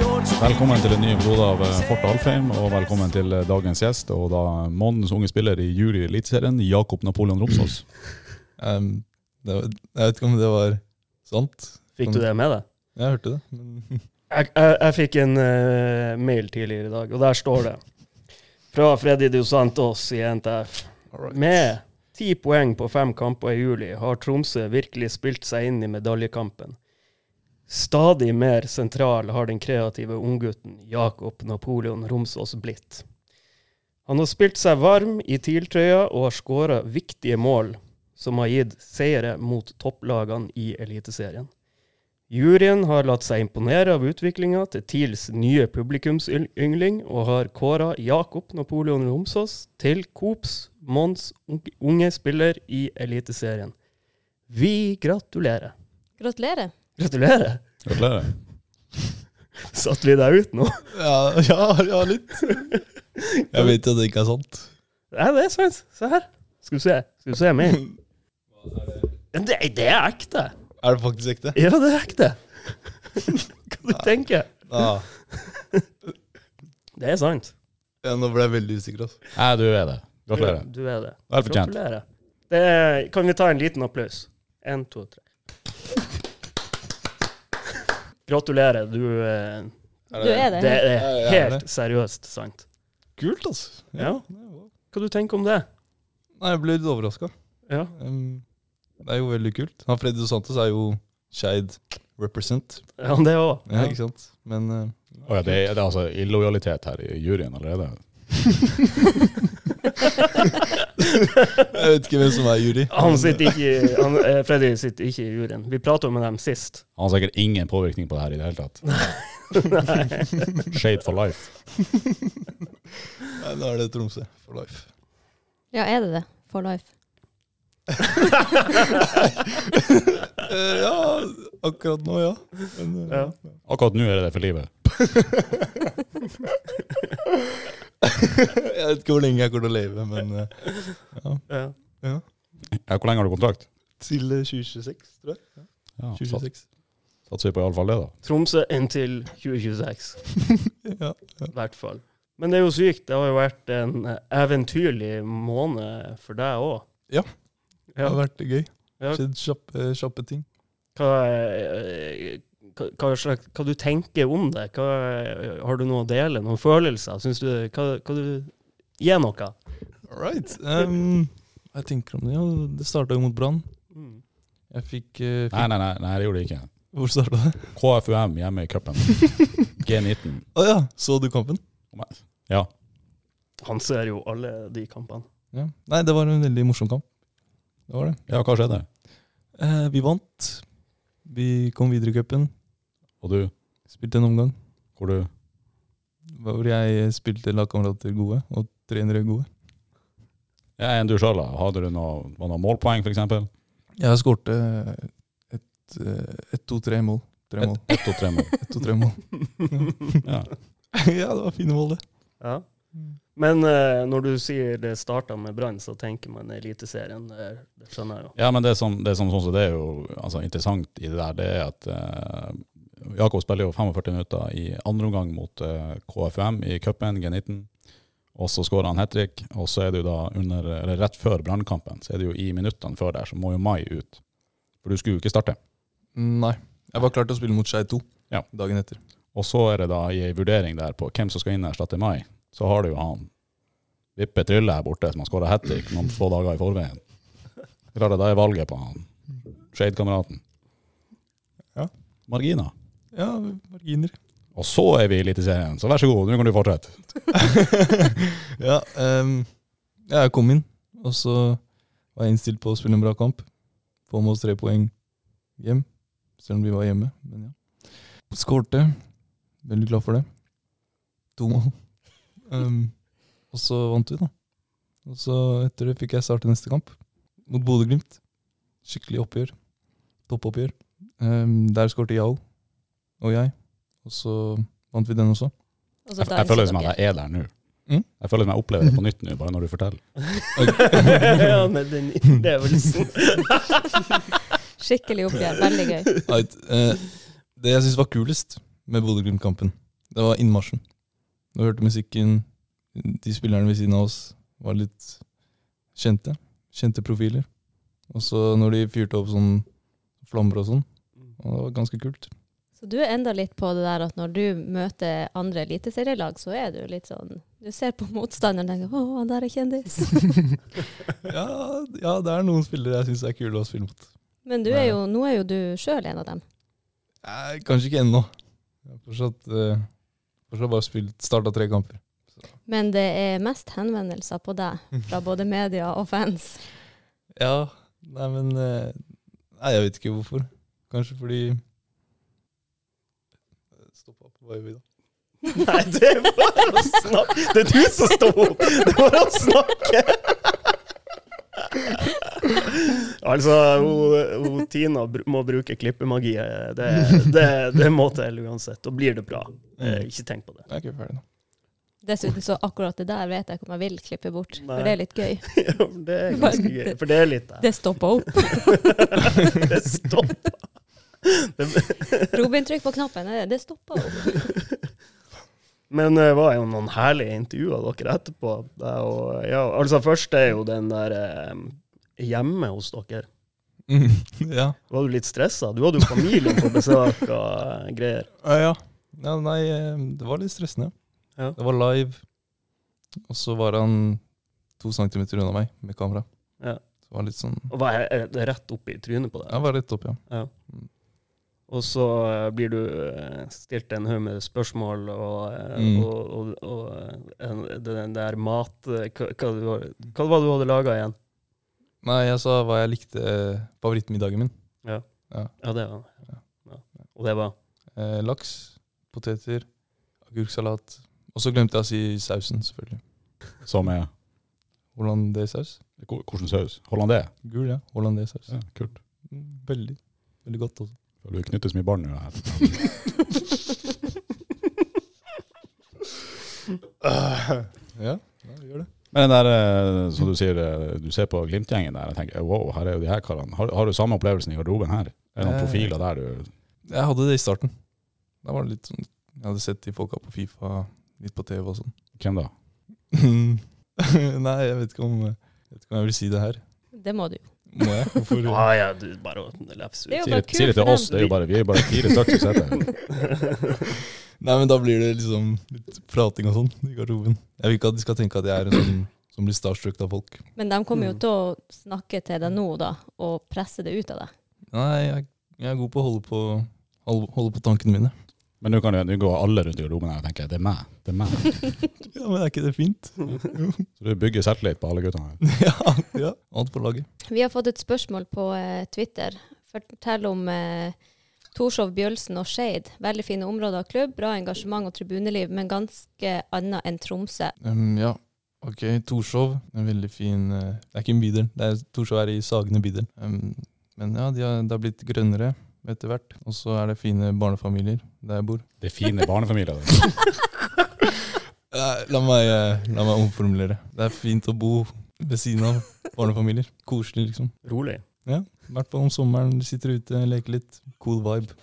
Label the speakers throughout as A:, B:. A: Velkommen til en ny episode av eh, Forte Alfheim, og velkommen til eh, dagens gjest, og da månedens unge spiller i juli i Eliteserien, Jakob Napoleon Romsås.
B: Ehm, det var, jeg vet ikke om det var sant.
C: Fikk du det med deg?
B: Jeg hørte det. Men
C: Sånn. Jeg, jeg, jeg fikk en eh, mail tidligere i dag, og der står det Fra Freddy Dos Santos i NTF. Med ti poeng på fem kamper i juli har Tromsø virkelig spilt seg inn i medaljekampen. Stadig mer sentral har den kreative unggutten Jakob Napoleon Romsås blitt. Han har spilt seg varm i TIL-trøya og har skåra viktige mål som har gitt seire mot topplagene i Eliteserien. Juryen har latt seg imponere av utviklinga til TILs nye publikumsyngling, og har kåra Jakob Napoleon Romsås til Coops Mons unge spiller i Eliteserien. Vi gratulerer.
D: Gratulerer.
C: Gratulerer!
A: Gratulerer.
C: Satt vi deg ut nå?
B: ja, ja, ja, litt. Jeg vet at det ikke er sant.
C: Nei, det er sant. Se her. Skal du se. Skal du se mer? Det, det er ekte.
B: Er det faktisk ekte?
C: Ja, det er ekte. Hva du tenker
B: Ja.
C: Det er sant.
B: ja, nå ble jeg veldig usikker. Altså.
A: Nei, du er det.
C: Du,
A: Gratulerer.
C: du er det.
A: Vel fortjent.
C: Gratulerer. Det er, kan vi ta en liten applaus? En, to, tre. Gratulerer. Du eh,
D: Du er
C: Det
D: det.
C: er
B: Ja, ja, det.
C: helt seriøst sant.
B: Kult, altså.
C: Ja.
B: det var-
C: Hva du tenker om det?
B: Nei, jeg ble litt overraska.
C: Ja.
B: det er jo veldig kult. Han Freddy Dos Santos er jo Skeid represent,
C: ja det òg.
B: ja, ikke sant? Men eh,
A: Å ja, det, er- det er altså illojalitet her i juryen allerede.
B: jeg vet ikke hvem som er jury.
C: Han sitter ikke i han, eh, Freddy sitter ikke i juryen. Vi prata med dem sist.
A: Han har sikkert ingen påvirkning på det her i det hele tatt. Shade for life.
B: eh, Nei, da er det Tromsø for life.
D: Ja, er det det? For life.
B: Eh, ja, akkurat nå, ja. Men, eh,
C: Ja.
A: Akkurat nå er det det for livet.
B: Jeg vet ikke hvor lenge jeg kommer til å leve, men eh,
C: Ja.
B: ja.
A: Ja, hvor lenge har du kontrakt?
B: Til eh, 2026, tror jeg.
A: Ja, sats-
B: 2026.
A: Satser vi på iallfall det, da.
C: Tromsø inntil 2026,
B: Ja.
C: i hvert fall. Men det er jo sykt. Det har jo vært en eh, eventyrlig måned for deg òg.
B: Ja. Det
C: ja.
B: har vært gøy.
C: Ja.
B: Skjedd kjappe, kjappe ting.
C: Hva, eh, hva, hva, slags- hva du tenker om det? Hva, eh, har du noe å dele? Noen følelser? Synes du, hva, hva du Gi noe.
B: All right. Um, hva jeg tenker om det? Ja, det starta jo mot Brann.
C: Mm.
B: Jeg fikk, eh, fikk
A: Nei, nei, nei, nei det gjorde det ikke.
B: Hvor starta det?
A: KFUM hjemme i cupen. G19.
B: Å ja, så du kampen?
C: Han ser jo alle de kampene.
B: Ja. Nei, det var en veldig morsom kamp. Det var det.
A: Ja, hva skjedde?
B: Eh, vi vant. Vi kom videre i cupen.
A: Og du?
B: Spilte en omgang
A: Hvor du?
B: hvor jeg spilte lagkamerater gode og trenere gode.
A: Ja, enn du sjøl, da. Hadde du noe, var det noe målpoeng, f.eks.?
B: Jeg skårte et, eh, et to-tre mål. Tre mål.
A: Ett, to, tre mål.
B: Et, to-tre mål.
A: Ja.
B: ja, det var fine mål, det.
C: Ja.
B: Mm.
C: Men eh, når du sier det starta med Brann, så tenker man Eliteserien. Det, det skjønner jeg jo.
A: ja, men det som, det som sånn som det er jo altså, interessant i det der, det er at eh, Jakob spiller jo 45 minutter i andre omgang mot eh, KFUM i cupen, G19. Og så skårer han hat trick, og så er det jo da under, eller rett før brannkampen, så er det jo i minuttene før der, så må jo Mai ut. For du skulle jo ikke starte.
B: Nei. Jeg var klar til å spille mot Skeid 2
A: Ja.
B: dagen etter.
A: Og så er det da i en vurdering der på hvem som skal inn og erstatte Mai, så har du jo han Vippe Trylle her borte, som har skåra hat trick noen få dager i forveien. Klart det, da er valget på han Shade-kameraten.
B: Ja.
A: Marginer.
B: Ja, marginer.
A: Og så er vi i Eliteserien, så vær så god, nå kan du fortsette.
B: ja, ehm, ja, jeg kom inn, og så var jeg innstilt på å spille en bra kamp. Få med oss tre poeng hjem, selv om vi var hjemme. Men ja. Skårte. Veldig glad for det. To mål. Ehm, og så vant vi, da. Og så etter det fikk jeg starte neste kamp, mot Bodø-Glimt. Skikkelig oppgjør. Toppoppgjør. Ehm, der skårte Jarl og jeg, og så vant vi den også.
D: Og så
A: Jeg, jeg
D: danser
A: føler det som at
D: dere.
A: jeg er der nå.
B: Mm.
A: Jeg føler det som jeg opplever det på nytt nå, bare når du forteller.
C: ja, med den innlevelsen.
D: Skikkelig oppgjør. Veldig gøy.
B: Right. Eh, det jeg syns var kulest med Bodø-Glimt-kampen, Det var innmarsjen. Du hørte musikken. De spillerne ved siden av oss var litt kjente. Kjente profiler. Og så når de fyrte opp sånn flammer og sånn, og det var ganske kult.
D: Så du er enda litt på det der at når du møter andre eliteserielag, så er du litt sånn Du ser på motstanderen og tenker 'Å, han der er kjendis'.
B: Ja, ja det er noen spillere jeg syns er kule å spille mot.
D: Men du er jo, nå er jo du sjøl en av dem.
B: Eh, kanskje ikke ennå. Jeg har fortsatt, eh, fortsatt bare spilt starta tre kamper.
D: Men det er mest henvendelser på deg fra både media og fans.
B: Ja, nei, men eh, Nei, jeg vet ikke hvorfor. Kanskje fordi Stoppa på vei videre.
C: Nei, det er bare å snakke. Det er du som står opp! Det er bare å snakke! Altså, hun, hun Tina br- må bruke klippemagi. Det, det, det må til uansett. Da blir det bra. Eh, Ikke tenk på det.
B: Jeg er ikke ferdig nå.
D: Dessuten så akkurat det der vet jeg ikke om jeg vil klippe bort,
C: Nei.
D: for det er litt gøy.
C: Ja, men Det er ganske gøy, for det er litt der.
D: Det stopper opp.
C: Det stopper.
D: Robin, trykk på knappen. Det- Det stopper opp.
C: Men det var jo noen herlige intervjuer dere etterpå. Det er jo- ja, altså, først er jo den der eh, hjemme hos dere.
B: Mm, ja.
C: Var du litt stressa? Du hadde jo familien på besøk og eh, greier.
B: Ja, ja. ja. Nei, eh, det var litt stressende.
C: Ja.
B: Det var live, og så var han to centimeter unna meg med kamera.
C: Ja.
B: Så det var litt sånn
C: Og var jeg eh, rett opp i trynet på
B: Jeg
C: deg.
B: var rett opp, ja.
C: Og så eh, blir du eh, stilt en haug med spørsmål, og, eh,
B: Mm.
C: og, og, og eh, en, den der mat eh, Hva, hva, du var- hva var det du hadde laga igjen?
B: Nei, jeg sa hva jeg likte eh, favorittmiddagen min.
C: Ja, det var det. Ja. Og det var
B: Eh, laks, poteter, agurksalat. Og så glemte jeg å si sausen, selvfølgelig.
A: Som er
B: Hvordan det er saus?
A: Hvilken saus? Hollandais?
B: Gul, ja. Hollandesaus.
A: Ja, kult.
B: Mm, Veldig. Veldig godt også.
A: Du knytter så mye barn i det her.
B: Ja, ja vi gjør det.
A: Men den der, eh, som du sier, eh, du ser på Glimt-gjengen der, jeg tenker eh, wow, her er jo de her karene. Har, har du samme opplevelsen i garderoben her? Er det noen
B: Eh.
A: profiler der du
B: Jeg hadde det i starten. Da var det litt sånn Jeg hadde sett de folka på Fifa, litt på TV og sånn.
A: Hvem da?
B: Nei, jeg vet ikke om jeg vet ikke om jeg vil si det her.
D: Det må du jo.
B: Må jeg? Hvorfor?
C: Ja,
B: Ja,
C: «Ah, ja, du bare å lefse
D: Det er
A: Si det,
C: ut.
D: jo bare
A: si
D: kult
A: det
D: for
A: til oss,
D: dem.
A: det er jo bare, vi er jo bare fire stykker som sitter her.
B: Nei, men da blir det liksom litt prating og sånn i garderoben. Jeg vil ikke at de skal tenke at jeg er en sånn som blir starstruck av folk.
D: Men de kommer jo
C: Mm.
D: til å snakke til deg nå, da, og presse det ut av deg.
B: Nei, jeg, jeg er god på å holde på, holde, holde på tankene mine.
A: Men nå kan jo- nå går alle rundt i garderoben her og tenker det er meg, det er meg.
B: Ja, men er ikke det fint?
A: Så du bygger selvtillit på alle guttene her.
B: ja, ja. Alt på laget.
D: Vi har fått et spørsmål på eh, Twitter. Fortell om eh, Torshov, Bjølsen og Skeid. Veldig fine områder av klubb, bra engasjement og tribuneliv, men ganske annet enn Tromsø.
B: Um, ja, ok. Torshov. En veldig fin eh, Det er ikke en bydel. Det er, Torshov er i Sagene bydel. Um, men ja, de har, det har blitt grønnere etter hvert. Og så er det fine barnefamilier der jeg bor.
A: Det er fine barnefamilier. det.
B: Nei, la meg, eh, la meg omformulere. Det er fint å bo ved siden av barnefamilier. Koselig, liksom.
C: Rolig.
B: I hvert fall om sommeren. De sitter ute, leker litt. Cool vibe.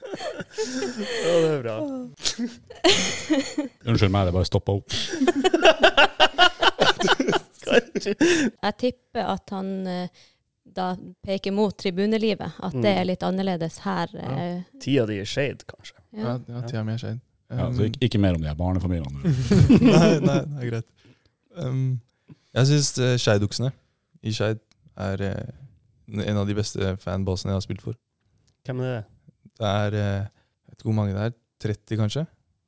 C: Ja, det er bra.
A: Unnskyld meg, det bare stoppa opp.
D: Jeg tipper at han eh, da peker mot tribunelivet, at det
C: Mm.
D: er litt annerledes her. eh,
C: Tida di er shade, kanskje.
D: ja.
B: Ja, ja tida mi er sein.
A: Ja, så ikke, ikke mer om de her barnefamiliene. nå.
B: nei, nei, det er greit. Um, jeg syns uh, Skeidoksene i Skeid er eh, en av de beste fanbasene jeg har spilt for.
C: Hvem er det?
B: Det er eh, jeg vet ikke hvor mange det er, 30 kanskje,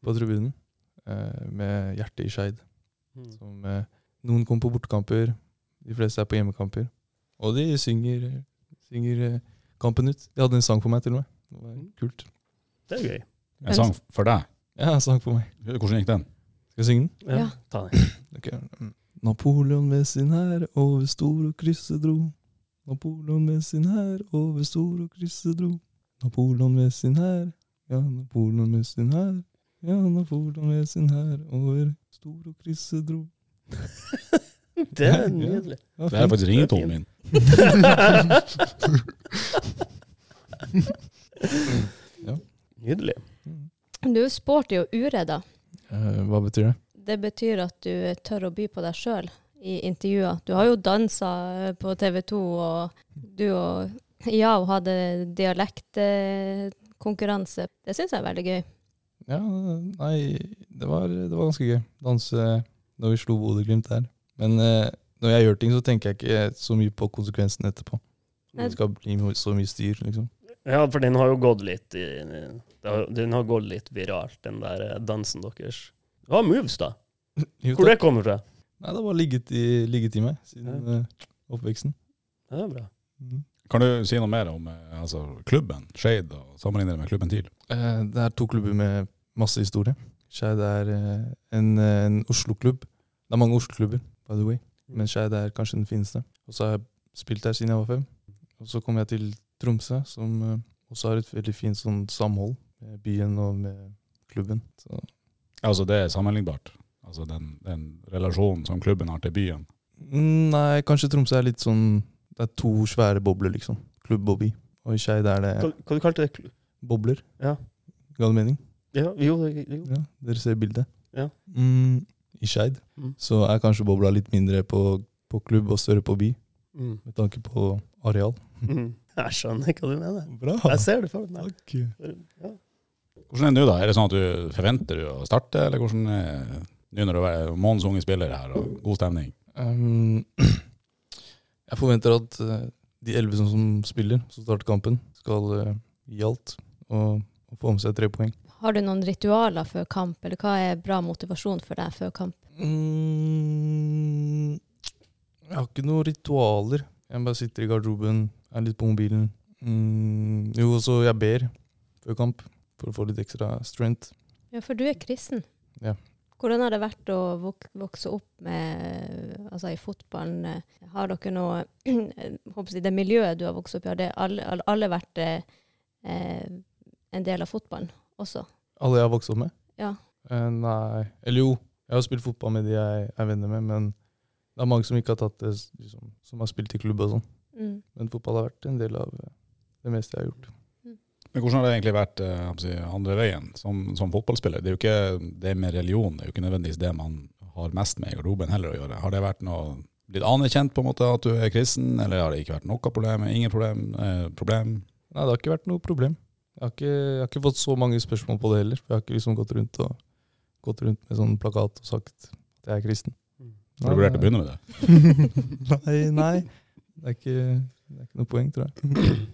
B: på tribunen, eh, med hjertet i Skeid.
C: Mm.
B: Som, eh, noen kommer på bortekamper, de fleste er på hjemmekamper. Og de synger, synger eh, kampen ut. De hadde en sang for meg, til og med. Det var kult.
C: Det er gøy.
A: En sang for deg.
B: Ja, en sang for meg.
A: Hvordan gikk den?
B: Skal jeg synge den?
D: Ja.
C: Ta den.
B: Ok. Napoleon med sin hær over stor og krysse dro. Napoleon med sin hær over stor og krysse dro. Napoleon med sin hær, ja, Napoleon med sin hær. Ja, Napoleon med sin hær over stor og krysse dro.
C: Det er
B: Ja.
C: nydelig.
B: Ja,
A: Det er
B: fint.
A: faktisk ringetonen min.
C: Nydelig.
B: Mm.
D: Du er jo sporty og uredda.
B: Eh, hva betyr det?
D: Det betyr at du tør å by på deg sjøl i intervjuer. Du har jo dansa eh, på TV 2, og du og Yao hadde dialektkonkurranse. Det syns jeg er veldig gøy.
B: Ja, nei, det var, det var ganske gøy. Danse når vi slo Bodø-Glimt der. Men eh, når jeg gjør ting, så tenker jeg ikke så mye på konsekvensen etterpå.
D: Nei.
B: Det skal bli mo- så mye styr, liksom.
C: Ja, for den har jo gått litt i, det har- Den har gått litt viralt, den der eh, dansen deres. Ja, moves, da.
B: Jo,
C: Hvor
B: takk.
C: det kommer fra?
B: Nei, det har bare ligget i, ligget i meg siden eh, oppveksten.
C: Ja, Det er bra.
B: Mm.
A: Kan du si noe mer om eh, altså, klubben, Skeid, og sammenligne det med klubben TIL?
B: Eh, det er to klubber med masse historie. Skeid er eh, en, eh, en Oslo-klubb. Det er mange Oslo-klubber, by the way, men Skeid er kanskje den fineste. Og så har jeg spilt der siden jeg var fem. Og så kom jeg til Tromsø, som eh, også har et veldig fint sånn samhold med byen og med klubben. Så,
A: Altså, det er sammenlignbart. Altså den, den relasjonen som klubben har til byen.
B: Mm, nei, kanskje Tromsø er litt sånn Det er to svære bobler, liksom. Klubb og by. Og i Skeid er det
C: Hva, hva du kalte du det?
B: bobler.
C: Ja.
B: Ga det mening?
C: Ja, jo, det- jo.
B: Ja, dere ser bildet.
C: Ja.
B: Mm, I Skeid
C: Mm.
B: så er kanskje bobla litt mindre på, på klubb og større på by,
C: Mm.
B: med tanke på areal.
C: Mm. Jeg skjønner hva du mener.
B: Bra!
C: Jeg ser det for meg.
B: Takk.
A: Hvordan er det nå, da? Er det sånn at du forventer du å starte, eller hvordan er nå når du er månens unge spiller her, og god stemning?
B: Um, jeg forventer at eh, de elleve som, som spiller, som starter kampen, skal eh, gi alt og, og få med seg tre poeng.
D: Har du noen ritualer før kamp, eller hva er bra motivasjon for deg før kamp?
B: Mm, jeg har ikke noen ritualer. Jeg bare sitter i garderoben, er litt på mobilen. Mm, jo, og så jeg ber før kamp for å få litt ekstra strength.
D: Ja, for du er kristen.
B: Ja.
D: Hvordan har det vært å vok vokse opp med, altså i fotballen? eh, Har dere noe håper jeg, Det miljøet du har vokst opp i, har det alle, alle- alle vært eh, eh, en del av fotballen også?
B: Alle jeg har vokst opp med?
D: Ja.
B: Eh, nei Eller jo, jeg har spilt fotball med de jeg er venner med, men det er mange som ikke har tatt det, liksom, som har spilt i klubb og sånn.
D: Mm.
B: Men fotball har vært en del av eh, det meste jeg har gjort.
A: Men hvordan har det egentlig vært eh, jeg må si, andre veien, som, som fotballspiller? Det er jo ikke det med religion, det er jo ikke nødvendigvis det man har mest med i garderoben heller å gjøre. Har det vært noe blitt anerkjent på en måte at du er kristen, eller har det ikke vært noe problem? Ingen problem? Eh, problem?
B: Nei, det har ikke vært noe problem. Jeg har ikke, jeg har ikke fått så mange spørsmål på det heller. For jeg har ikke liksom gått rundt, og, gått rundt med sånn plakat og sagt at jeg er kristen.
C: Mm.
A: Har du vurdert å begynne med det?
B: nei, nei. Det er, ikke, det er ikke noe poeng, tror jeg.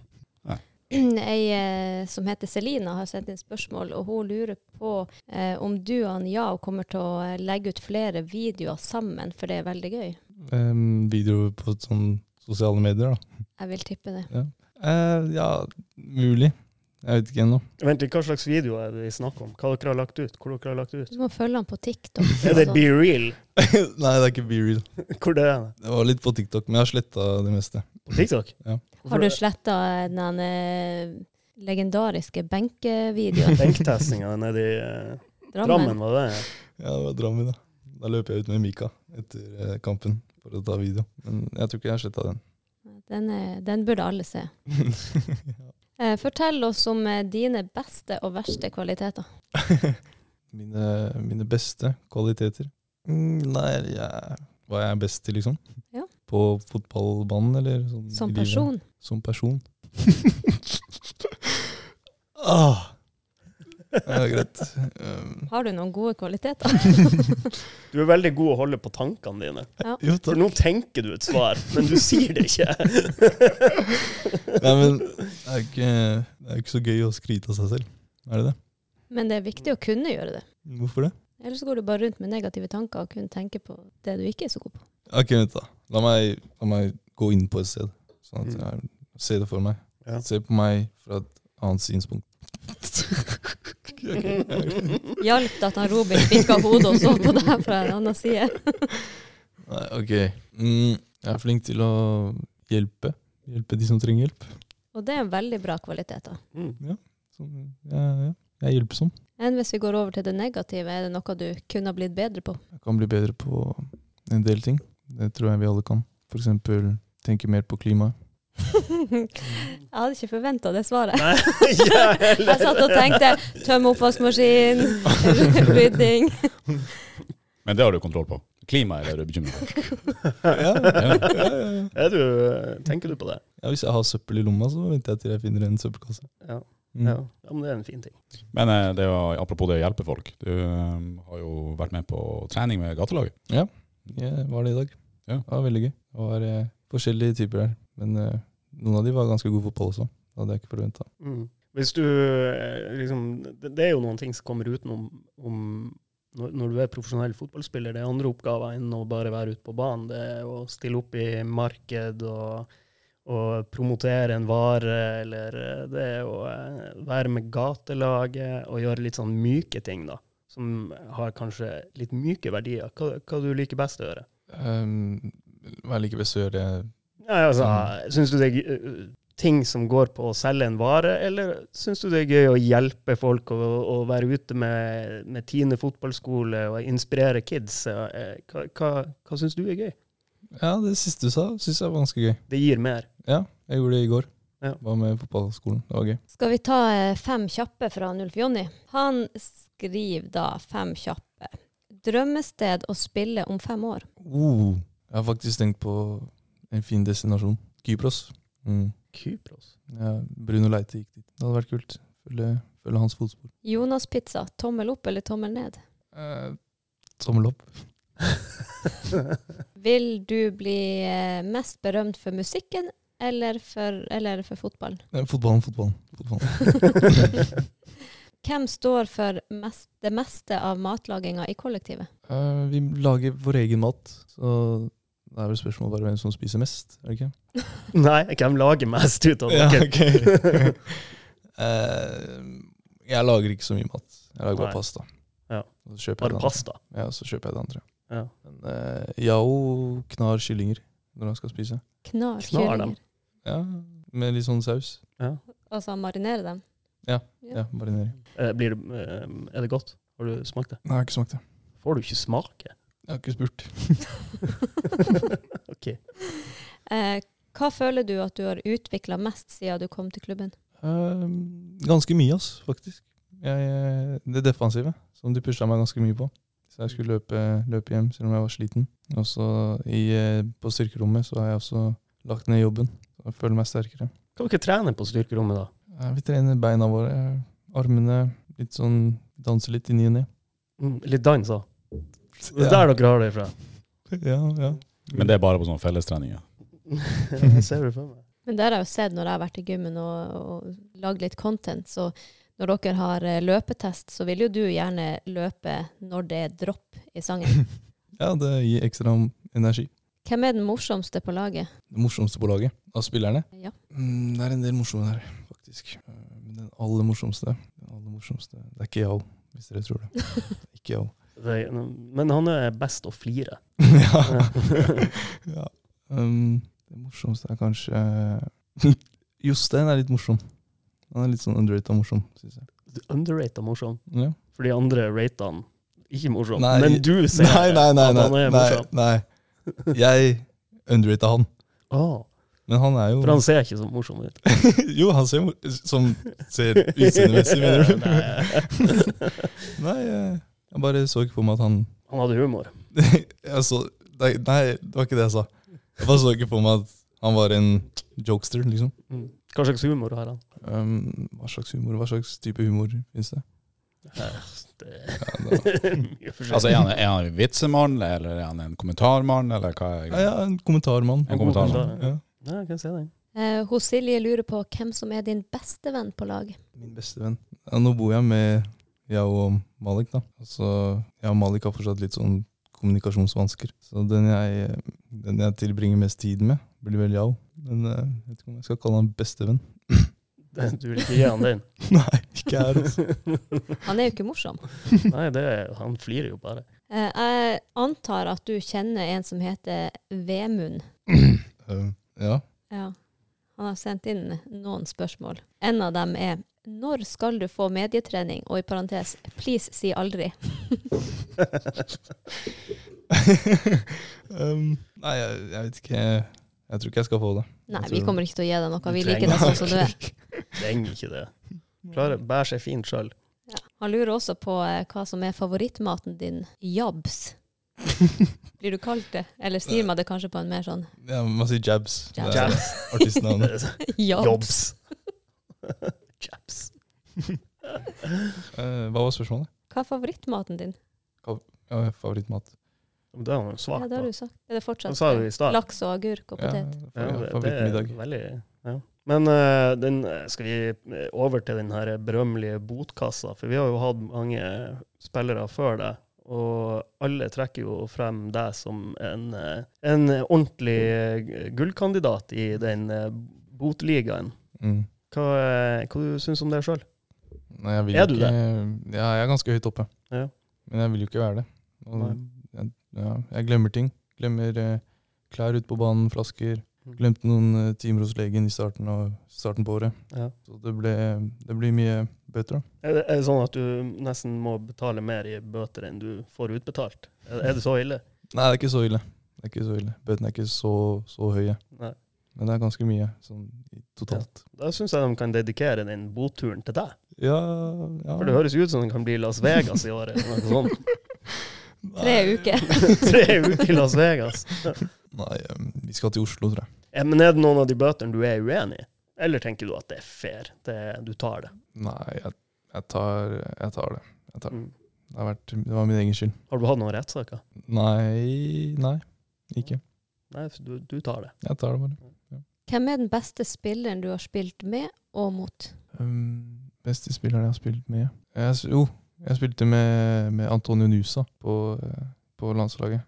D: Ei eh, som heter Selina, har sendt inn spørsmål, og hun lurer på eh, om du og han Yao kommer til å eh, legge ut flere videoer sammen, for det er veldig gøy.
B: Um, videoer på sånn sosiale medier, da.
D: Jeg vil tippe det.
B: Eh, ja, mulig. Jeg vet ikke ennå.
C: Vent litt, hva slags video er det vi snakker om? Hva dere har lagt ut? Hvor dere har lagt ut?
D: Du må følge han på TikTok.
C: Er det
D: altså.
C: Be Real?
B: nei, det er ikke be real.
C: Hvor det er det?
B: Det var litt på TikTok, men jeg har sletta det meste.
C: På TikTok?
B: Ja.
D: Har du sletta den eh, legendariske benkevideoen?
C: Benktestinga nede i eh,
D: Drammen?
C: Drammen, var det? ja?
B: Ja, det var Drammen, da. Da løper jeg ut med Mika etter eh, kampen for å ta video. Men jeg tror ikke jeg har sletta den.
D: Den, er, den burde alle se. Eh, fortell oss om eh, dine beste og verste kvaliteter.
B: mine, mine beste kvaliteter? Mm, nei, jeg, hva jeg er best til, liksom?
D: Ja.
B: På fotballbanen, eller? Sånn, i
D: Som
B: livet?
D: person.
B: Som person. ah. Ja, greit. Um,
D: Har du noen gode kvaliteter?
C: Du er veldig god å holde på tankene dine.
B: jo,
C: For
B: takk.
C: nå tenker du et svar, men du sier det ikke.
B: Nei, men det er ikke, det er ikke så gøy å skryte av seg selv. Er det det?
D: Men det er viktig å kunne gjøre det.
B: Hvorfor det?
D: Ellers går du bare rundt med negative tanker og kun tenker på det du ikke er så god på.
B: Ok, vent da. La meg, la meg gå inn på et sted, sånn at
C: Mm.
B: jeg ser det for meg.
C: Ja.
B: Se på meg fra et annet synspunkt. Ok.
D: Hjalp det at han Robin fikk av hodet og så på deg fra en annen side?
B: Nei, ok. Mm, jeg er flink til å hjelpe. Hjelpe de som trenger hjelp.
D: Og det er en veldig bra kvalitet. da.
C: Mm.
B: Sånn, ja, ja. Jeg er hjelpsom.
D: Enn hvis vi går over til det negative, er det noe du kunne ha blitt bedre på?
B: Jeg kan bli bedre på en del ting. Det tror jeg vi alle kan. For eksempel tenke mer på klimaet.
D: Jeg hadde ikke forventa det svaret.
C: Nei, jeg heller.
D: Jeg satt og tenkte tømme oppvaskmaskin, rydding
A: Men det har du kontroll på. Klimaet er det du bekymra for.
B: Ja, ja, ja, ja.
C: Er du, eh, tenker du på det?
B: ja, Hvis jeg har søppel i lomma, så venter jeg til jeg finner en søppelkasse.
C: Ja.
B: Mm.
C: Ja. ja, men det er en fin ting.
A: Men eh, det er jo, apropos det å hjelpe folk. Du eh, har jo vært med på trening med gatelaget.
B: Jeg var det i dag.
A: Ja.
B: Det var veldig gøy. Det var eh, forskjellige typer der. Men eh, noen av de var ganske gode i fotball også. Det hadde jeg ikke forventa.
C: Mm. Hvis du eh, liksom det, det er jo noen ting som kommer utenom om når, når du er profesjonell fotballspiller. Det er andre oppgaver enn å bare være ute på banen. Det er å stille opp i marked og, og promotere en vare, eller eh, det er å eh, være med gatelaget og gjøre litt sånn myke ting, da. Som har kanskje litt myke verdier. Hva, hva du liker best å gjøre?
B: Um, hva jeg liker best å gjøre
C: Nei, altså,
B: Mm.
C: Syns du det er gøy, ø, ting som går på å selge en vare, eller syns du det er gøy å hjelpe folk og, og være ute med, med Tine fotballskole og inspirere kids? Eh, Hva, hva, hva syns du er gøy?
B: Ja, det siste du sa, syns jeg var ganske gøy.
C: Det gir mer.
B: Ja, jeg gjorde det i går.
C: Ja.
B: Var med fotballskolen. Det var gøy.
D: Skal vi ta eh, fem kjappe fra Nulf Jonny? Han skriver da fem kjappe. Drømmested å spille om fem år.
B: Uh, jeg har faktisk tenkt på en fin destinasjon. Kypros. Mm.
C: Kypros.
B: Ja, Bruno Leite gikk dit. Det hadde vært kult. Følge, følge hans fotspor.
D: Jonas Pizza, tommel opp eller tommel ned?
B: Eh, tommel opp.
D: Vil du bli eh, mest berømt for musikken eller for, eller for fotballen?
B: Eh, fotballen, fotballen. fotballen.
D: Hvem står for mest, det meste av matlaginga i kollektivet?
B: Eh, vi lager vår egen mat, så det er vel spørsmålet bare hvem som spiser mest. er det ikke?
C: Nei, hvem lager mest ut av dere?
B: ok. Eh, jeg lager ikke så mye mat. Jeg lager
C: Nei.
B: bare pasta.
C: Ja.
B: Og så kjøper jeg
C: Bare
B: det andre.
C: pasta.
B: Ja, så kjøper jeg det andre.
C: Ja.
B: Men eh, Yao knar kyllinger når han skal spise.
D: Knar
C: Knar dem.
D: kyllinger.
B: Ja, Med litt sånn saus.
D: Altså marinere dem.
B: Ja, Marinering.
C: Eh, Blir det, eh, er det godt? Har du smakt det?
B: Nei, jeg har ikke smakt det.
C: Får du ikke smake?
B: Jeg har ikke spurt.
C: Ok.
D: Eh, hva føler du at du har utvikla mest siden du kom til klubben?
B: Eh, ganske mye, ass, faktisk. Jeg, eh, det defensive, som de pusha meg ganske mye på. Så jeg skulle løpe, løpe hjem, selv om jeg var sliten. Og så i, eh, på styrkerommet så har jeg også lagt ned jobben. Så jeg føler meg sterkere.
C: Kan dere trene på styrkerommet, da?
B: Eh, vi trener beina våre, eh, armene, litt sånn danser litt i ny og ne.
C: Mm, Litt dans òg. Det er
B: Ja.
C: der dere har det ifra.
B: Ja, ja.
A: Men det er bare på sånne fellestreninger.
C: Jeg ser det for meg.
D: Men det har jeg jo sett når jeg har vært i gymmen og, og lagd litt content. Så når dere har eh, løpetest, så vil jo du gjerne løpe når det er dropp i sangen.
B: Ja, det gir ekstra energi.
D: Hvem er den morsomste på laget?
B: Det morsomste på laget av spillerne?
D: Ja.
B: Mm, det er en del morsomme der, faktisk. Eh, Men den aller morsomste, den aller morsomste Det er ikke Yao, hvis dere tror det. Det er Ikke Yao.
C: Det- Men han er best å flire.
B: ja. ja. Um, det morsomste er kanskje Jostein er litt morsom. Han er litt sånn underrated morsom, syns jeg.
C: Underrated morsom.
B: Ja.
C: For de andre rater han ikke morsom.
B: Nei.
C: Men du sier
B: Nei, nei, nei.
C: at han
B: nei,
C: er
B: nei,
C: morsom.
B: nei. Jeg underrated han.
C: Å,
B: Men han er jo
C: Ah, for han ser ikke så morsom ut.
B: Jo, han ser mor- som ser utseendemessig, mener du?
C: Nei.
B: Nei, jeg, jeg bare så ikke for meg at han
C: Han hadde humor.
B: jeg så, nei, nei, det var ikke det jeg sa. Jeg bare så ikke for meg at han var en jokester, liksom.
C: Mm. Hva slags humor har han?
B: Um, hva slags humor, hva slags type humor finnes det?
C: Eh, Det
B: Ja, det
C: mye forskjellig.
A: Altså, er han, er han en vitsemann, eller er han en kommentarmann, eller hva er
B: ja, ja, en kommentarmann.
A: En kommentarmann.
B: Ja.
C: Ja, jeg kan se den.
D: Eh, hos Silje lurer på hvem som er din beste venn på laget.
B: Min beste venn. Ja, nå bor jeg med jeg og Malik, da. Altså, jeg og Malik har fortsatt litt sånn kommunikasjonsvansker. Så den jeg, den jeg tilbringer mest tid med, blir vel Yao. Men eh, jeg vet ikke om jeg skal kalle han bestevenn.
C: Du vil ikke gi han den?
B: Nei, ikke her. Altså.
D: Han er jo ikke morsom.
C: Nei, det er, han flirer jo bare.
D: Eh, jeg antar at du kjenner en som heter Vemund.
B: Eh, ja.
D: Ja. Han har sendt inn noen spørsmål. En av dem er når skal du få medietrening? Og i parentes, please si aldri.
B: um, nei, jeg, jeg vet ikke. Jeg Jeg tror ikke jeg skal få det.
D: Nei,
B: Jeg
D: vi
B: tror-
D: kommer ikke til å gi deg noe. Vi
C: Du
D: liker
C: trenger
D: deg sånn som du er.
C: Trenger ikke det. Klarer, bærer seg fint sjøl.
D: Han lurer også på eh, hva som er favorittmaten din. Jabs. Blir du kalt det? Eller sier man det kanskje på en mer sånn
B: Ja, man sier jabs. Det er
C: Jabs.
B: Artistnavnet.
C: sånn.
D: jabs?
C: Jobs. Jabs.
B: Eh, hva var spørsmålet?
D: Hva er favorittmaten din?
B: Ja, favorittmat.
C: Men Det har hun
D: Ja,
C: svart
D: det har
C: på.
D: du sagt. Er det
C: Det
D: fortsatt
C: sa du i stad.
D: laks og agurk og potet?
B: Ja,
C: Ja, det, det er
B: favorittmiddag.
C: veldig ja. Men eh, den, eh, skal vi eh, over til den her berømmelige botkassa? For vi har jo hatt mange spillere før deg, og alle trekker jo frem deg som en, eh, en ordentlig eh, gullkandidat i den eh, botligaen.
B: Mm.
C: Hva, eh, hva du syns du om det sjøl?
B: Nei, jeg vil
C: Er du
B: ikke, Ja, jeg er ganske høyt oppe.
C: Ja.
B: Men jeg vil jo ikke være det. Og jeg, ja, jeg glemmer ting. Glemmer eh, klær ute på banen, flasker.
C: Mm.
B: Glemte noen eh, timer hos legen i starten, av, starten på året.
C: Ja.
B: Så det, ble, det blir mye bøter, da.
C: Er, det- er det sånn at du nesten må betale mer i bøter enn du får utbetalt? Er, er det så ille?
B: Nei, det er ikke så ille. Det er ikke så ille. Bøtene er ikke så, så høye.
C: Nei.
B: Men det er ganske mye, sånn i- totalt.
C: Da syns jeg de kan dedikere den boturen til deg.
B: Ja, ja.
C: For det høres jo ut som det kan bli Las Vegas i året. eller noe sånt.
D: Tre uker.
C: Tre uker i Las Vegas.
B: Nei, eh, vi skal til Oslo, tror jeg.
C: Ja, men er det noen av de bøtene du er uenig i? Eller tenker du at det er fair? Det, du tar det.
B: Nei, jeg, jeg, tar, jeg tar det. Jeg tar det.
C: Mm.
B: Det, har vært, det var min egen skyld.
C: Har du hatt noen rettssaker?
B: Nei, nei. Ikke.
C: Nei, du, du tar det.
B: Jeg tar det bare.
D: Hvem er den beste spilleren du har spilt med og mot?
B: Um, beste spilleren jeg har spilt med jeg, s- Jo, jeg spilte med, med Antonio Nusa på, eh, på landslaget.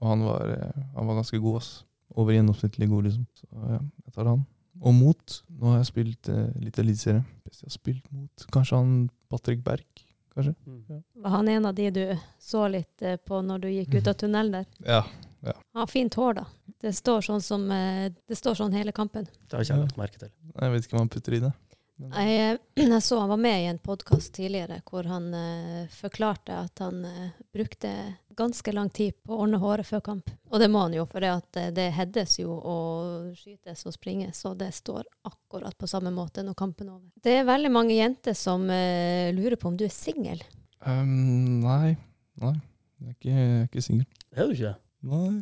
B: Og han var, eh, han var ganske god, ass. Over gjennomsnittlig god, liksom. Så ja, jeg tar han. Og mot Nå har jeg spilt eh, litt eliteserie. Beste jeg har spilt mot Kanskje han Patrick Berg, kanskje?
C: Mm.
D: Var han en av de du så litt eh, på når du gikk ut av tunnelen der?
B: Ja.
D: Han har fint hår, da. Det står sånn, som, eh, det står sånn hele kampen.
C: Det har ikke jeg lagt merke til.
B: Jeg vet ikke hva han putter i det.
D: Jeg, Eh, jeg så han var med i en podkast tidligere hvor han eh, forklarte at han eh, brukte ganske lang tid på å ordne håret før kamp. Og det må han jo, for det, at, eh, det heades jo og skytes og springes, så det står akkurat på samme måte når kampen er over. Det er veldig mange jenter som eh, lurer på om du er singel.
B: Um, nei. Nei. Jeg er ikke, jeg er ikke singel.
C: Er du ikke det?
B: Nei.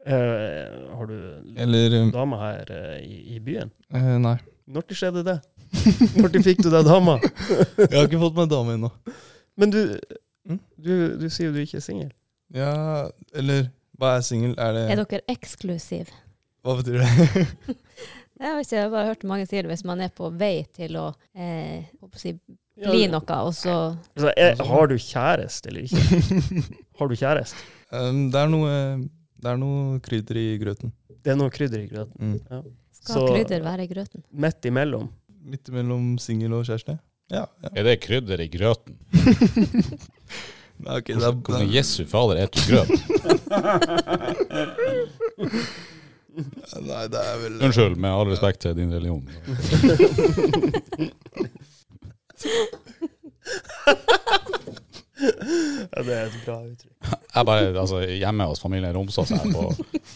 C: Eh, har du
B: Eller um,
C: dame her eh, i, i byen?
B: eh, Nei.
C: Når det skjedde det? Når de fikk du deg dama?
B: Jeg har ikke fått meg dame ennå.
C: Men du,
B: Mm.
C: du, du sier jo du ikke er singel.
B: Ja, eller hva er singel? Er det
D: Er dere eksklusive?
B: Hva betyr det?
D: Jeg vet ikke, jeg har bare hørt mange si det hvis man er på vei til å eh, håper å si,
C: Ja,
D: bli noe, og så
C: altså, er, har du kjæreste eller ikke? Har du kjæreste?
B: um, det, er noe, det er noe krydder i grøten.
C: Det er noe krydder i grøten.
B: Mm.
D: skal
C: Så-
D: krydder være i grøten.
C: Midt imellom.
B: Midt mellom singel og kjæreste? Ja. ja.
A: Er det krydder i grøten?
B: Nei, ok, det er,
A: Hvordan, hvordan Jesu fader et du grøt?
B: nei, det er vel
A: Unnskyld, med all respekt til din religion.
C: Ja, det er et bra uttrykk.
A: Jeg bare, altså, Hjemme hos familien Romsås her på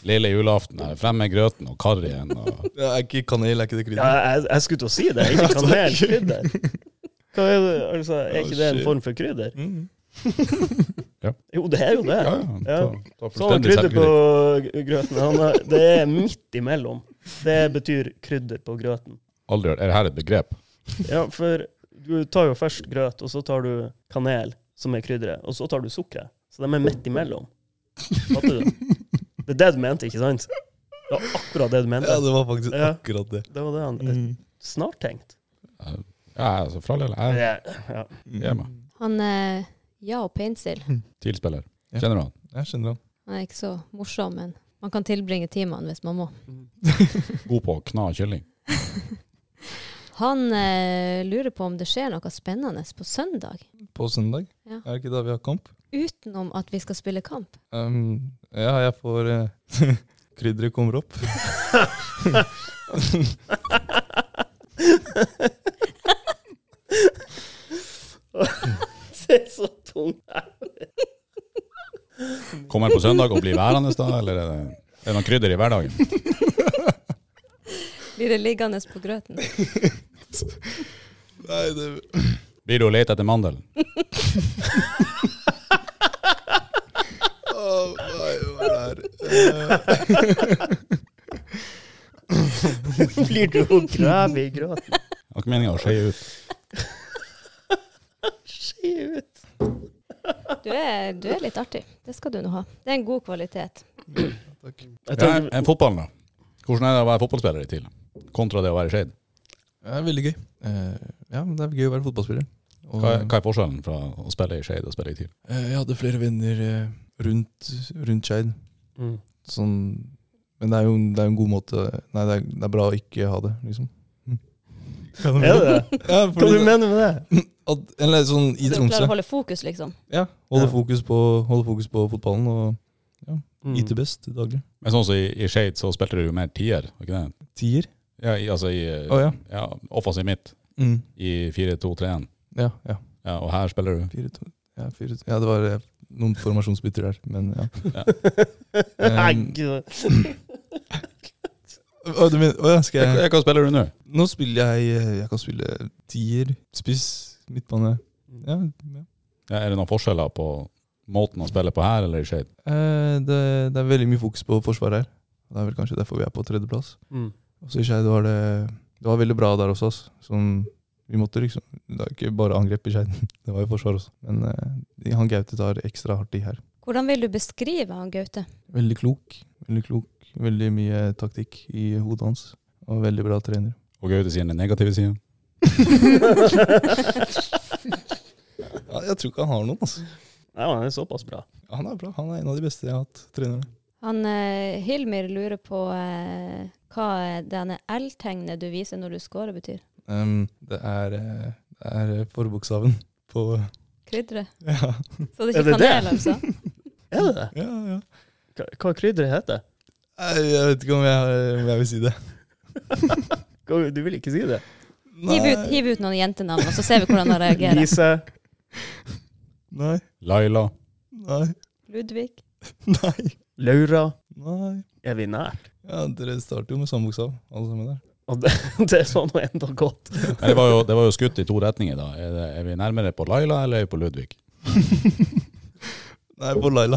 A: lille julaften, her, frem med grøten og karrien. Og,
B: ja, Er ikke kanel, er ikke det
C: Ja,
B: krydder?
C: jeg, jeg skulle til å si det. Ikke kanel, krydder. Hva er, det, altså, er
B: Å,
C: ikke det en
B: shit.
C: form for krydder?
B: Mm.
C: Jo, det er jo det.
A: ja, ja,
C: Ja.
A: ta, ta
C: Så har
A: fullstendig
C: krydder på
A: selvkritikk.
C: g- grøten. Han er, det er midt imellom. Det betyr krydder på grøten.
A: Aldri hørt. Er det her et begrep?
C: Ja, for du tar jo først grøt, og så tar du kanel, som er krydderet, og så tar du sukkeret. Så de er midt imellom. Fatter du? Det er det du mente, ikke sant? Det var akkurat det du
B: Ja,
C: mente.
B: det var faktisk
C: Ja.
B: akkurat det.
C: Det var det han
B: Mm.
C: Snart tenkt.
A: Ja, altså, fra Lille. Jeg er
C: Ja, ja.
B: Mm.
A: Gi meg.
D: Han eh, Ja og Painsil.
A: TIL-spiller.
B: Ja.
A: Kjenner du han?
B: Jeg skjønner han.
D: Han er ikke så morsom, men man kan tilbringe timene hvis man må.
A: God på å kna kylling.
D: Han eh, lurer på om det skjer noe spennende på søndag,
B: På søndag?
D: Ja.
B: Er det ikke da vi har kamp?
D: utenom at vi skal spille kamp.
B: Um, ja, jeg får eh, Krydderet kommer opp.
C: Det er så tungt.
A: Kommer han på søndag og blir værende da, eller er det, er det noe krydder i hverdagen?
D: Blir det liggende på grøten?
B: Nei, det
A: Blir du å lete etter mandelen?
B: Åh, Nei, hva er det her?
C: Blir du å grave i grøten?
A: Det var ikke meninga å skeie ut.
C: Skje ut.
D: Du er, du er litt artig. Det skal du nå ha. Det er en god kvalitet.
B: Eh, Takk.
C: Jeg
A: Ja,
C: tenkte,
A: eh, fotballen, da. Hvordan er det å være fotballspiller i TIL, kontra det å være i Skeid?
B: Det er veldig gøy. Eh, ja, men det er gøy å være fotballspiller. Og,
A: Hva, er- hva er forskjellen fra å spille i Skeid og spille i TIL?
B: eh, jeg hadde flere venner eh, rundt, rundt Skeid.
C: mm.
B: Sånn, men det er jo det er jo en god måte Nei, det er, det er bra å ikke ha det, liksom.
C: Er det det?
B: Ja,
C: Hva
B: fordi,
C: du mener du med det?
B: at, eller sånn i
D: Du klarer
B: Tromsø.
D: å holde fokus, liksom.
B: Ja, holde,
C: Ja.
B: Fokus på, holde fokus på fotballen og
C: Mm.
B: yte best daglig.
A: Men sånn som i, i Skeid, så spilte du jo mer tier, var ikke det?
B: Tier.
A: Ja, i, altså i
B: Å ja.
A: ja, offensiv midt,
B: Mm.
A: i 4-2-3-1.
B: Ja, ja.
A: Ja, og her spiller du.
B: Fire, to, ja, fire, to- ja, det var eh, noen formasjonsbytter der, men ja.
C: Nei,
B: Um,
C: gud.
B: Å, du mener, å ja, skal jeg
A: Hva hva spiller du nå?
B: Nå spiller jeg eh, Jeg kan spille tier, spiss, midtbane. Ja, ja.
A: Ja, er det noen forskjeller på måten å spille på her eller i Skeid?
B: Eh, det, det er veldig mye fokus på forsvar her. Det er vel kanskje derfor vi er på tredjeplass.
C: Mm.
B: Og så i Skeid var det Det var veldig bra der også. ass. Sånn, vi måtte liksom Det er ikke bare angrep i Skeid, det var jo forsvar også. Men eh, han Gaute tar ekstra hardt i her.
D: Hvordan vil du beskrive han Gaute?
B: Veldig klok. Veldig klok. Veldig mye taktikk i hodet hans. Og veldig bra trener.
A: Og Gaute sier den negative siden.
B: Ja, jeg tror ikke han har noen, altså.
C: Nei, men det er såpass bra.
B: Han er bra. Han er en av de beste jeg har hatt trenere.
D: Han eh, Hilmir lurer på eh, hva denne L-tegnet du viser når du scorer, betyr.
B: Ehm, det er, eh, det er eh, forbokstaven på
D: Krydderet.
B: Ja,
D: Så
C: Er
D: det er ikke
C: det det?
D: kanel, altså.
C: Er det det?
B: ja. ja.
C: Hva, hva krydderet heter?
B: Nei, Jeg vet ikke om jeg, om jeg vil si det.
C: Hva- Du vil ikke si det?
D: Hiv ut, hiv ut noen jentenavn, og så ser vi hvordan han reagerer.
C: Lise.
B: Nei.
A: Laila.
B: Nei.
D: Ludvig.
B: Nei.
C: Laura.
B: Nei.
C: Er vi nær?
B: Ja, dere starter jo med samme bokstav, alle sammen der.
C: Og det, det var nå enda godt.
A: Nei, Det var, jo, det var jo skutt i to retninger, da. Er, det, er vi nærmere på Laila eller er vi på Ludvig?
B: Nei, på Laila.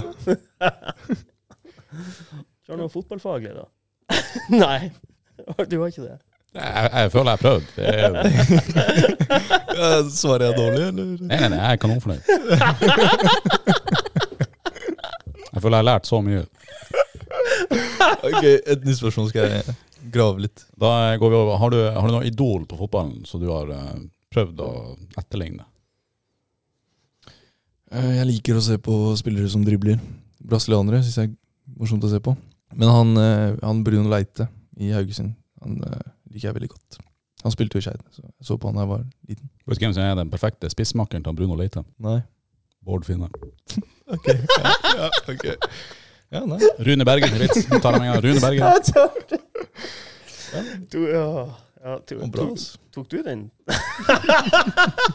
C: Har du noe fotballfaglig, da? Nei, du har ikke det.
A: Jeg, jeg føler jeg har prøvd. Det er-
B: Ja, svarer jeg dårlig, eller?
A: Nei, nei, nei, jeg er kanonfornøyd. Jeg føler jeg har lært så mye.
B: Ok, et nytt spørsmål skal jeg grave litt.
A: Da går vi over. Har du, har du noe idol på fotballen som du har eh, prøvd å etterligne?
B: Eh, Jeg liker å se på spillere som dribler. Brasilianere syns jeg er morsomt å se på. Men han, eh, han Bruno Leite i Haugesund, han eh, liker jeg veldig godt. Han spilte jo i Skeid, så jeg så på han da jeg var liten.
A: Vet du hvem som er den perfekte spissmakkeren til Bruno Leite?
B: Nei.
A: Bård Finne.
B: Ok. Ja, ja, ok. Ja, nei.
A: Rune Berger til vits. Nå tar jeg meg av Rune Berger.
C: Du, ja, ja, du,
B: Og bra,
C: tok,
B: altså.
C: tok du den?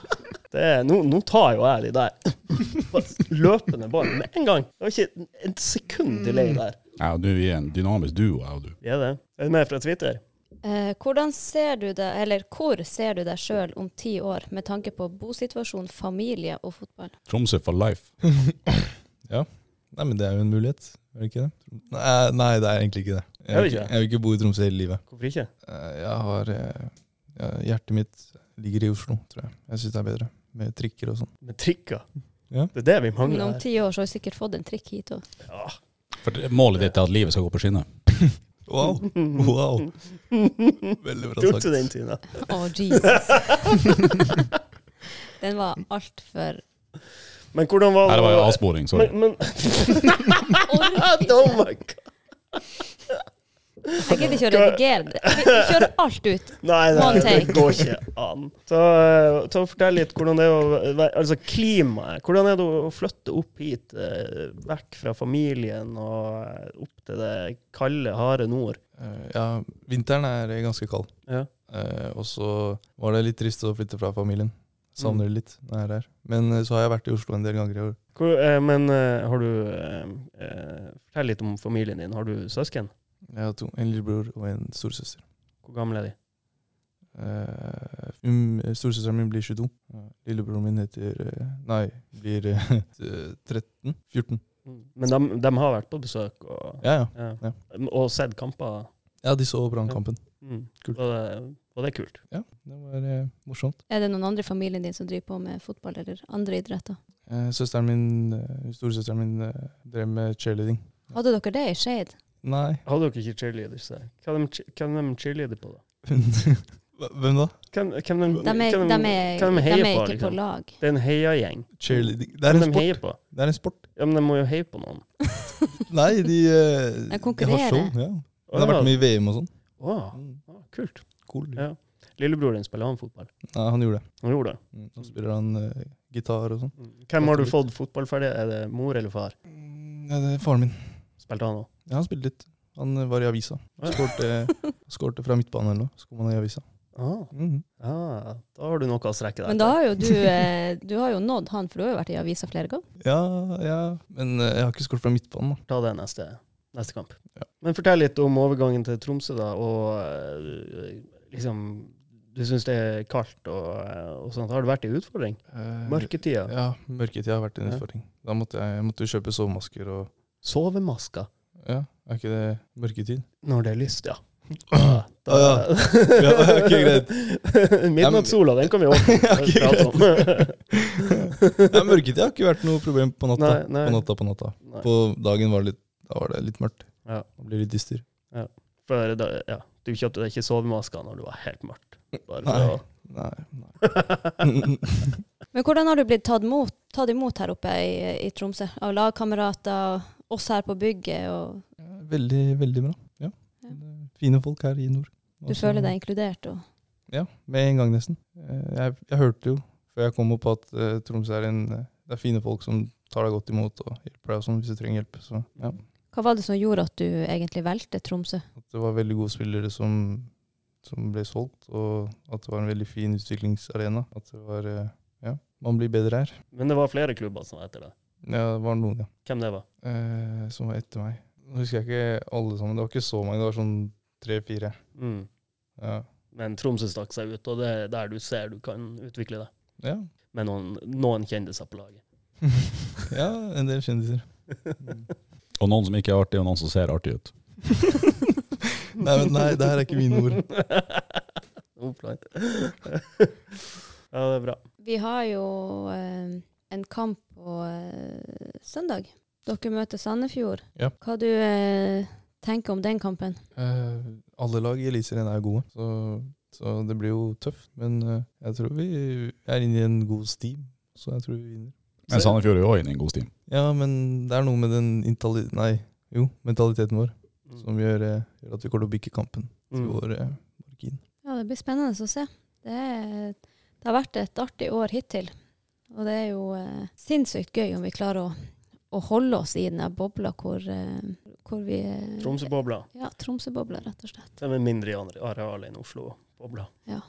C: det, er- nå, nå tar jo jeg de der. Løpende ball med en gang. Det var ikke et sekund delay der.
A: Ja, du, vi er en dynamisk duo, jeg og du.
C: Vi er det. Er du med fra Twitter?
D: Eh, hvordan ser du deg, eller hvor ser du deg sjøl om ti år, med tanke på bosituasjon, familie og fotball?
A: Tromsø for life.
B: Nei, men det er jo en mulighet, er det ikke det? Nei, nei det er egentlig ikke det. Jeg vil
C: Er det
B: ikke,
C: ikke?
B: jeg vil ikke bo i Tromsø hele livet.
C: Hvorfor ikke?
B: Eh, Jeg har eh, ja, Hjertet mitt ligger i Oslo, tror jeg. Jeg syns det er bedre. Med trikker og sånn.
C: Med trikker.
B: Ja.
C: Det er det vi
D: Men
C: mangler
D: om
C: her.
D: ti år så har jeg sikkert fått en trikk hit òg.
C: Ja.
A: For det- målet ditt er at livet skal gå på skinner.
B: Wow! wow. Veldig bra
C: Tok du den,
B: sagt.
C: Tina?
D: Oh, Jesus. Den var altfor
C: Men hvordan var
A: Nei, det var jo avsporing, sorry.
C: Men, men Oh my God.
D: Jeg gidder ikke å redigere det. Vi vi kjører alt ut.
C: Nei,
D: One
C: nei
D: take.
C: det går ikke an. Så, eh, ta og Fortell litt hvordan det er å være Altså klimaet. Hvordan er det å flytte opp hit, eh, vekk fra familien og eh, opp til det kalde, harde nord?
B: Eh, Ja, vinteren er eh, ganske kald.
C: Ja.
B: Eh, og så var det litt trist å flytte fra familien. Savner
C: Mm.
B: det litt når jeg er her. Men eh, så har jeg vært i Oslo en del ganger i år.
C: Hvor, eh, men eh, har du eh, eh, Fortell litt om familien din. Har du søsken?
B: Jeg har to, en lillebror og en storesøster.
C: Hvor gammel er de?
B: Eh, hun- Storesøsteren min blir 22. Eh, Lillebroren min heter eh, Nei, blir eh, 13? 14.
C: Men de, de har vært på besøk og,
B: Ja, ja.
C: ja.
B: Ja.
C: og sett kamper.
B: Ja, de så Brannkampen.
C: Mm.
B: Kult.
C: Og, det, og det er kult.
B: Ja, det var eh, morsomt.
D: Er det noen andre i familien din som driver på med fotball eller andre idretter?
B: Eh, søsteren min, eh, Storesøsteren min eh, drev med cheerleading.
D: Hadde dere det i Skeid?
B: Nei
C: Hadde dere ikke cheerleaders der? Hva er de, che- hva er de cheerleader på, da?
B: Hva- Hvem da?
C: Hvem, hvem de,
D: De
C: hvem
D: er, de er,
C: hvem
D: de
C: de heier
D: er
C: på,
D: ikke på
C: liksom?
D: lag.
C: Det er en heiagjeng.
B: Cheerleading. Det
C: Hvem
B: er en
C: de
B: sport.
C: heier på?
B: Det er en sport.
C: Ja, men de må jo heie på noen.
B: Nei, de, eh,
D: De
B: de har
D: konkurrerer.
B: show. Ja.
C: Å,
B: Det har vært
C: ja.
B: med i VM og sånn. Mm.
C: Å, å, kult.
B: Cool.
C: Ja. Lillebror din spiller han fotball.
B: Nei, han gjorde det.
C: Han gjorde det.
B: Mm, Nå spiller han eh, gitar og sånn.
C: Mm. Hvem har du fått fotballferdig? Er det mor eller far?
B: Mm, Ja, det er faren min.
C: Spilte han òg?
B: Ja, han spilte litt. Han eh, var i avisa.
C: Ja.
B: Skårte, skårte fra midtbanen eller noe. Så kom han i avisa.
C: Ah,
B: Mhm.
C: ah, da har du noe å strekke deg
D: Men da har jo du, eh, du har jo nådd han, for du har jo vært i avisa flere ganger.
B: Ja, ja. Men eh, jeg har ikke skåret fra midtbanen, da.
C: ta det neste, neste kamp.
B: Ja.
C: Men fortell litt om overgangen til Tromsø, da. Og eh, liksom Du syns det er kaldt og, eh, og sånt. Har det vært en utfordring?
B: Eh,
C: Mørketida?
B: Ja, mørketida har vært en
C: Ja.
B: utfordring. Da måtte jeg, jeg måtte jo kjøpe sovemasker og
C: Sovemasker?
B: Ja, er ikke det mørketid?
C: Når det er lyst, ja.
B: Ah, Ja, ok, greit.
C: Midnattssola, den kan vi også
B: ok,
C: prate om.
B: Nei, mørketid har ikke vært noe problem på natta.
C: Nei, nei.
B: På natta, på natta.
C: Nei,
B: På dagen var det litt, da var det litt mørkt.
C: Ja.
B: Det blir litt dyster.
C: For da, ja, du kjøpte deg ikke sovemasker når det var helt mørkt. Bare
B: Nei.
C: for å
B: Nei, nei.
D: Men hvordan har du blitt tatt, mot, tatt imot her oppe i, i Tromsø? Av lagkamerater, og oss her på bygget, og
B: Eh, Veldig, veldig bra. Ja.
D: Ja.
B: Fine folk her i nord.
D: du
B: Også-
D: føler deg inkludert? Og,
B: Ja, med en gang nesten. Eh, Jeg, jeg hørte jo før jeg kom opp at eh, Tromsø er en eh, Det er fine folk som tar deg godt imot og hjelper deg og sånn hvis du trenger hjelp. Så ja,
D: hva var det som gjorde at du egentlig valgte Tromsø?
B: at det var veldig gode spillere som, som ble solgt, og at det var en veldig fin utviklingsarena. At det var eh, Ja, man blir bedre her.
C: Men det var flere klubber som var etter det.
B: Ja, det var noen, ja.
C: Hvem det var?
B: eh, som var etter meg. Nå husker jeg ikke alle sammen. Det var ikke så mange, det var sånn tre-fire.
C: Mm.
B: Ja.
C: Men Tromsø stakk seg ut, og det er der du ser du kan utvikle deg.
B: Ja.
C: Med noen, noen kjendiser på laget.
B: ja, en del kjendiser.
A: Og noen som ikke er artig, og noen som ser artig ut.
B: Nei, men nei, det her er ikke mine ord.
C: Oppland. ja, det er bra.
D: Vi har jo eh, en kamp på eh, søndag. Dere møter Sandefjord.
B: Ja.
D: Hva du eh, tenker om den kampen?
B: Eh, alle lag i Eliteserien er gode, så, så det blir jo tøft. Men eh, jeg tror vi er inne i en god steam, så jeg tror vi vinner.
A: Men Sandefjord er jo også inne i en god stim.
B: Ja, men det er noe med den intali nei, jo, mentaliteten vår som gjør, eh, gjør at vi kommer til å bikke kampen til
C: Mm.
B: vår eh, margin.
D: Ja, det blir spennende å se. Det, er, det har vært et artig år hittil. Og det er jo eh, sinnssykt gøy om vi klarer å, å holde oss i den der bobla hvor, eh, hvor vi eh,
C: Tromsø-bobla.
D: Ja, Tromsø-bobla, rett og slett.
C: De er mindre i andre areal enn Oslo-bobla.
D: Ja.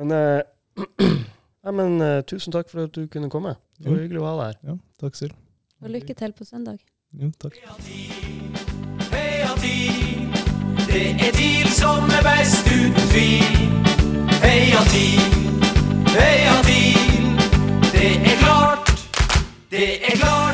C: Men, eh, ja, men eh, tusen takk for at du kunne komme. Det var
B: Jo.
C: hyggelig å ha deg her.
B: Ja, takk selv.
D: Og lykke til på søndag.
B: Jo, takk.
E: Heia ti, det er TIL som er best uten tvil. Heia ti, heia TIL, det er klart, det er klart.